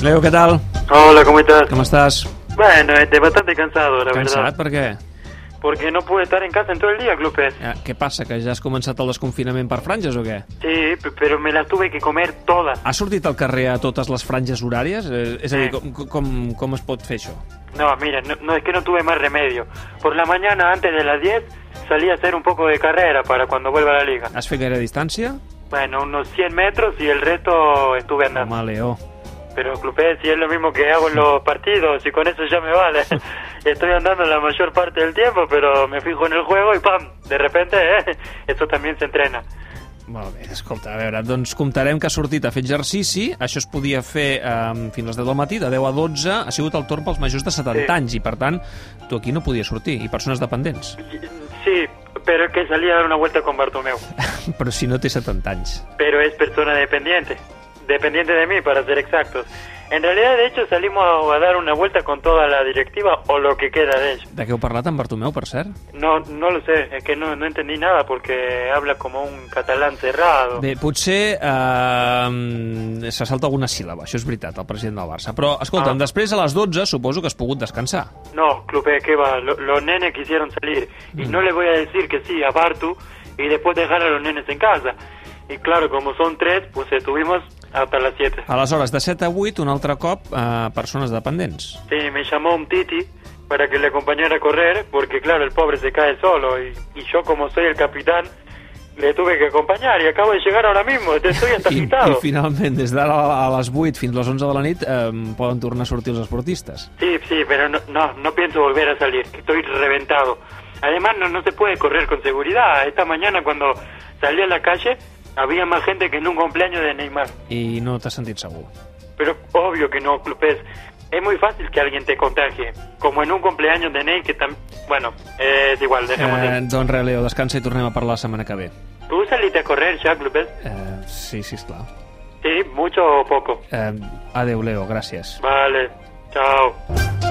Leo, ¿qué tal? Hola, ¿cómo estás? ¿Cómo estás? Bueno, este, bastante cansado, la Cansat? verdad. Per què? Porque no pude estar en casa en todo el día, Clupes. Eh, Què passa, que ja has començat el desconfinament per franges o què? Sí, p- pero me las tuve que comer todas. Has sortit al carrer a totes les franges horàries? Eh, És a dir, Sí. com, com, com es pot fer això? No, mira, no, no, es que no tuve más remedio. Por la mañana, antes de las 10, salí a hacer un poco de carrera para cuando vuelva a la liga. Has fet gaire distància? Bueno, unos 100 metros y el resto estuve andando. Home, Leo, Pero, Clupes, si es lo mismo que hago en los partidos, y con eso ya me vale. Estoy andando la mayor parte del tiempo, pero me fijo en el juego y ¡pam! De repente, ¿eh? Esto también se entrena. Molt bé, escolta, a veure, doncs comptarem que ha sortit a fer exercici, això es podia fer eh, fins a les 10 del matí, de 10 a 12, ha sigut el torn pels majors de 70 Sí. anys, i per tant, tu aquí no podies sortir, i persones dependents. Sí, pero es que salí a dar una vuelta con Bartomeu. Però si no té 70 anys. Pero es persona dependiente. Dependiente de mí, para ser exactos. En realidad, de hecho, salimos a dar una vuelta con toda la directiva o lo que queda de ello. De què heu parlat amb Bartomeu, per cert? No, no lo sé, es que no, no entendí nada porque habla como un catalán cerrado. Bé, potser eh, se salta alguna síl·laba, això és veritat, el president del Barça. Però, escolta'm, Ah. després a les 12 suposo que has pogut descansar. No, Clupe, que va, lo- los nenes quisieron salir. Y no le voy a decir que sí a Bartu y después dejar a los nenes en casa. Y claro, como son tres, pues estuvimos hasta las siete. Aleshores, de 7 a 8, un altre cop, eh, persones dependents. Sí, me llamó un titi para que le acompañara a correr, porque claro, el pobre se cae solo y, y yo como soy el capitán, le tuve que acompañar y acabo de llegar ahora mismo, te estoy hasta I, agitado. I finalment, des d'ara a les 8 fins a les 11 de la nit, eh, poden tornar a sortir els esportistes. Sí, sí, pero no, no, no pienso volver a salir, que estoy reventado. Además, no, no se puede correr con seguridad. Esta mañana cuando salí a la calle había más gente que en un cumpleaños de Neymar. I no t'has sentit segur. Pero obvio que no, Clupés. Es muy fácil que alguien te contagie, como en un cumpleaños de Ney que también... Bueno, es igual, dejemos de... Eh, doncs res, Leo, descansa i tornem a parlar la setmana que ve. ¿Tú saliste a correr ya, Clupés? Eh, sí, sí, esclar. Sí, mucho o poco. Eh, adeu, Leo, gràcies. Vale, chao.